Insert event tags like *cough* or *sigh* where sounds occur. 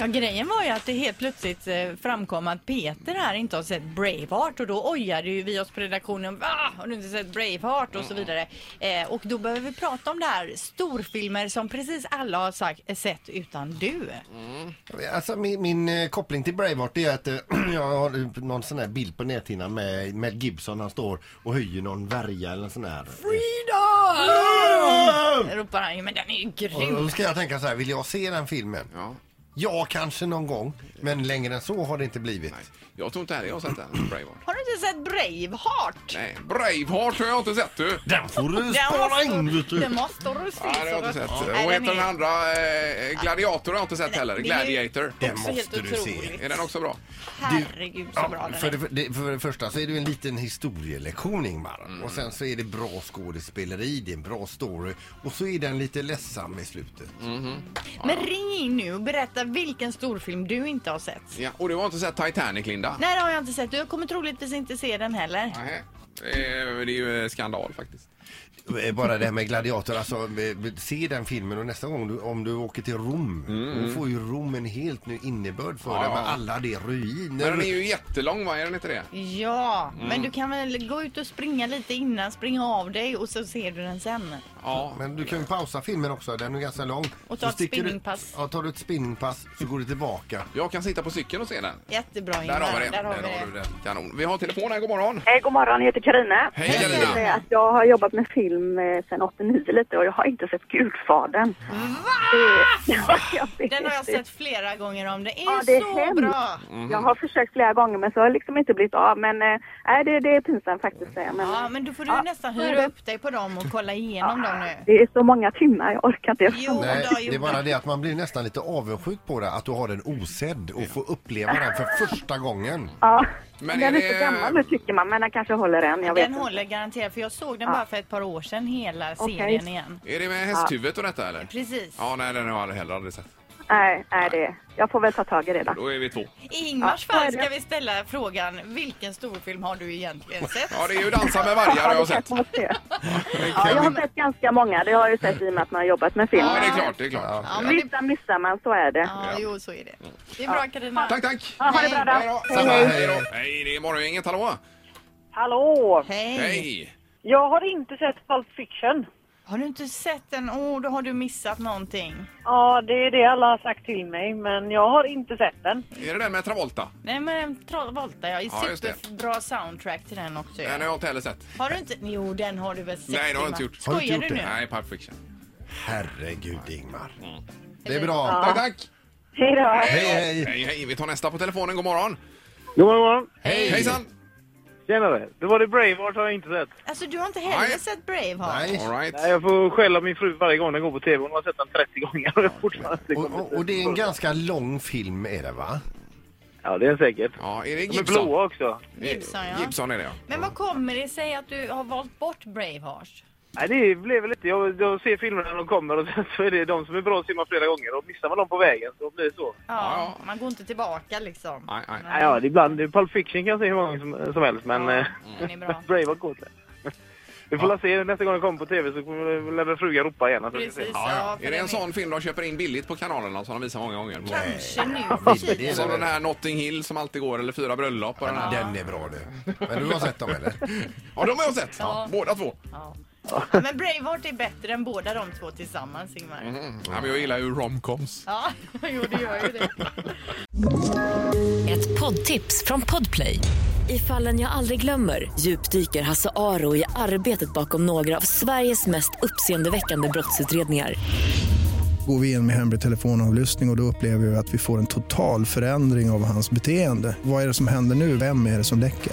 Ja, grejen var ju att det helt plötsligt eh, framkom att Peter här inte har sett Braveheart och då ojade ju vi oss på redaktionen. Va? Har du inte sett Braveheart? Och så Mm. vidare. Eh, och då behöver vi prata om det här storfilmer som precis alla har sagt, eh, sett utan Mm. du. Alltså min, min eh, koppling till Braveheart det är att eh, *clears throat* jag har eh, någon sån här bild på näthinnan med Mel Gibson. Han står och höjer någon värja eller en sån här. Freedom! Ropar han ju, men den är ju Och då Mm. grym. ska jag tänka så här, vill jag se den filmen? Ja. Ja, kanske någon gång. Men längre än så har det inte blivit. Nej. Jag tror inte heller jag har sett den. Braveheart. Har du inte sett Braveheart? Nej, Braveheart har jag inte sett du. Den får du Den spara in vet måste, du. den måste du se. Nej, det har jag inte så- sett. Nej, Och heter är- den andra eh, Gladiator har jag inte sett heller. det är ju- Gladiator. Den också helt måste du se. otroligt. Är den också bra? Herregud så bra Ja, den för, är. det, det, för det första så är det ju en liten historielektion Ingmar. Mm. Och sen så är det bra skådespeleri, det är en bra story. Och så är den lite ledsam i slutet. Men ring in nu och berätta vilken storfilm du inte har sett. Ja, och du har inte sett Titanic, Linda? Nej, det har jag inte sett. Jag kommer troligtvis inte se den heller. Nej. Eh, Det är ju eh, skandal faktiskt. Eh, Bara det här med Gladiator, alltså eh, se den filmen och nästa gång du, om du åker till Rom, Mm. då får ju Rom en helt ny innebörd för dig med alla de ruiner. Men den är ju jättelång, va? Är den inte det? Ja, Mm. men du kan väl gå ut och springa lite innan, springa av dig och så ser du den sen. Ja. Men du kan ju pausa filmen också, den är ganska lång. Och ta Så ett sticker du- spinningpass. Ja, tar du ett spinningpass så går du tillbaka. Jag kan sitta på cykeln och se den. Jättebra Där Ingmar. har vi det. Där har vi Där har du det. det. Kanon. Vi har telefon här. God morgon. Hej, god morgon. Jag heter Karina. Hej, Jag Carina. kan säga att Jag har jobbat med film eh, sedan 89 lite och jag har inte sett Gudfadern. Det- *laughs* Jag vet Den har jag det. sett flera gånger om. Det är Ja, det är så hemskt. bra. Jag har försökt flera gånger men så har jag liksom inte blivit av. Men eh, nej, det, det är pinsamt faktiskt. säger jag. Men, Ja, men då får du nästan hyra upp dig på dem och kolla igenom dem nu. Det är så många timmar, jag orkar inte. Jo, Nej, då, jo. det är bara det att man blir nästan lite avundsjuk på det, att du har den osedd och får uppleva den för första gången. Ja. Men den är, är det- så gammal nu tycker man, men den kanske håller än. Jag vet Den inte. håller garanterat, för jag såg den bara för ett par år sedan, hela Okej. serien igen. Är det med hästhuvudet och detta, eller? Precis. Ja, nej, den har jag heller aldrig sett. Nej, nej det, jag får väl ta tag i det då. Då är vi två. I Ingmars Ja, så är fall det. ska vi ställa frågan, vilken storfilm har du egentligen sett? Ja, det är ju Dansa med vargar *laughs* har jag sett. kanske man *laughs* ser. Kan Ja, jag vi- har sett ganska många, det har jag ju sett i och med att man har jobbat med film. Ja, det är klart, det är klart. Ja, men det, Vissa missar man, så är det. ja, jo, så är det. Mm. Det är bra Carina. Tack, tack! Ja, ha det bra då. Hej då! Samma, hej. Hej då! Hej, det är Morgongänget, hallå! Hallå! Hej. Hej! Jag har inte sett Pulp Fiction. Har du inte sett den? Åh, då har du missat någonting. Ja, det är det alla har sagt till mig, men jag har inte sett den. Är det den med Travolta? Nej, men Travolta, ja. Ja, just det. Superbra soundtrack till den också. Den har Ja. jag inte heller sett. Har du inte? Jo, den har du väl sett? Nej, det har jag inte Ingmar? gjort. Har du inte Skojar du gjort nu? det? Nej, Pulp Fiction. Herregud Ingmar. Det är bra. Tack, tack! Hej då! Hej, hej! Hej, hej! Vi tar nästa på telefonen. God morgon! God morgon, god morgon. Hej! Hejsan! Tjenare. Det var det Braveheart har jag inte sett. Alltså, du har inte heller Nej. sett Braveheart? Nej. All right. Nej, jag får skälla min fru varje gång den går på tv. Hon har sett den 30 gånger och jag har *laughs* fortfarande inte Och, kommit och, och det är en dit. ganska lång film är det va? Ja, det är den säkert. Ja, är det De är Gibson? blåa också. Gibson, ja. Gibson är det, ja. Men vad kommer det sig att du har valt bort Braveheart? Nej, det blev väl lite... Jag, jag ser filmerna när de kommer och *laughs* sen så är det de som är bra ser man flera gånger. Och missar man dem på vägen så blir det så. Ja, Ja, man går inte tillbaka liksom. Nej, nej. Nej, ja, det är ibland... det är Pulp Fiction kan jag se hur många som, som helst, men... eh, *laughs* Mm. Den är bra. Braveheart går inte. *laughs* Vi får la se nästa gång den kommer på tv så kommer- lär väl frugan ropa igen. att vi ska se. Precis. Ja, för ja. Är det den en sån film de köper in billigt på kanalerna som de visar många gånger? Kanske nu för det tiden. är Som den här Notting Hill som alltid går, eller Fyra bröllop och den här. Den är bra du. Men du har sett dem eller? Ja, de har jag sett! Ja. Båda två. Ja. Ja, Men Braveheart är bättre än båda de två tillsammans, Ingmar. Mm. Ja, men jag gillar ju romcoms. Ja, *laughs* jo, det gör ju det. Ett poddtips från Podplay. I fallen jag aldrig glömmer djupdyker Hasse Aro i arbetet bakom några av Sveriges mest uppseendeväckande brottsutredningar. Går vi in med hemlig telefonavlyssning och, och då upplever vi att vi får en total förändring av hans beteende. Vad är det som händer nu? Vem är det som läcker?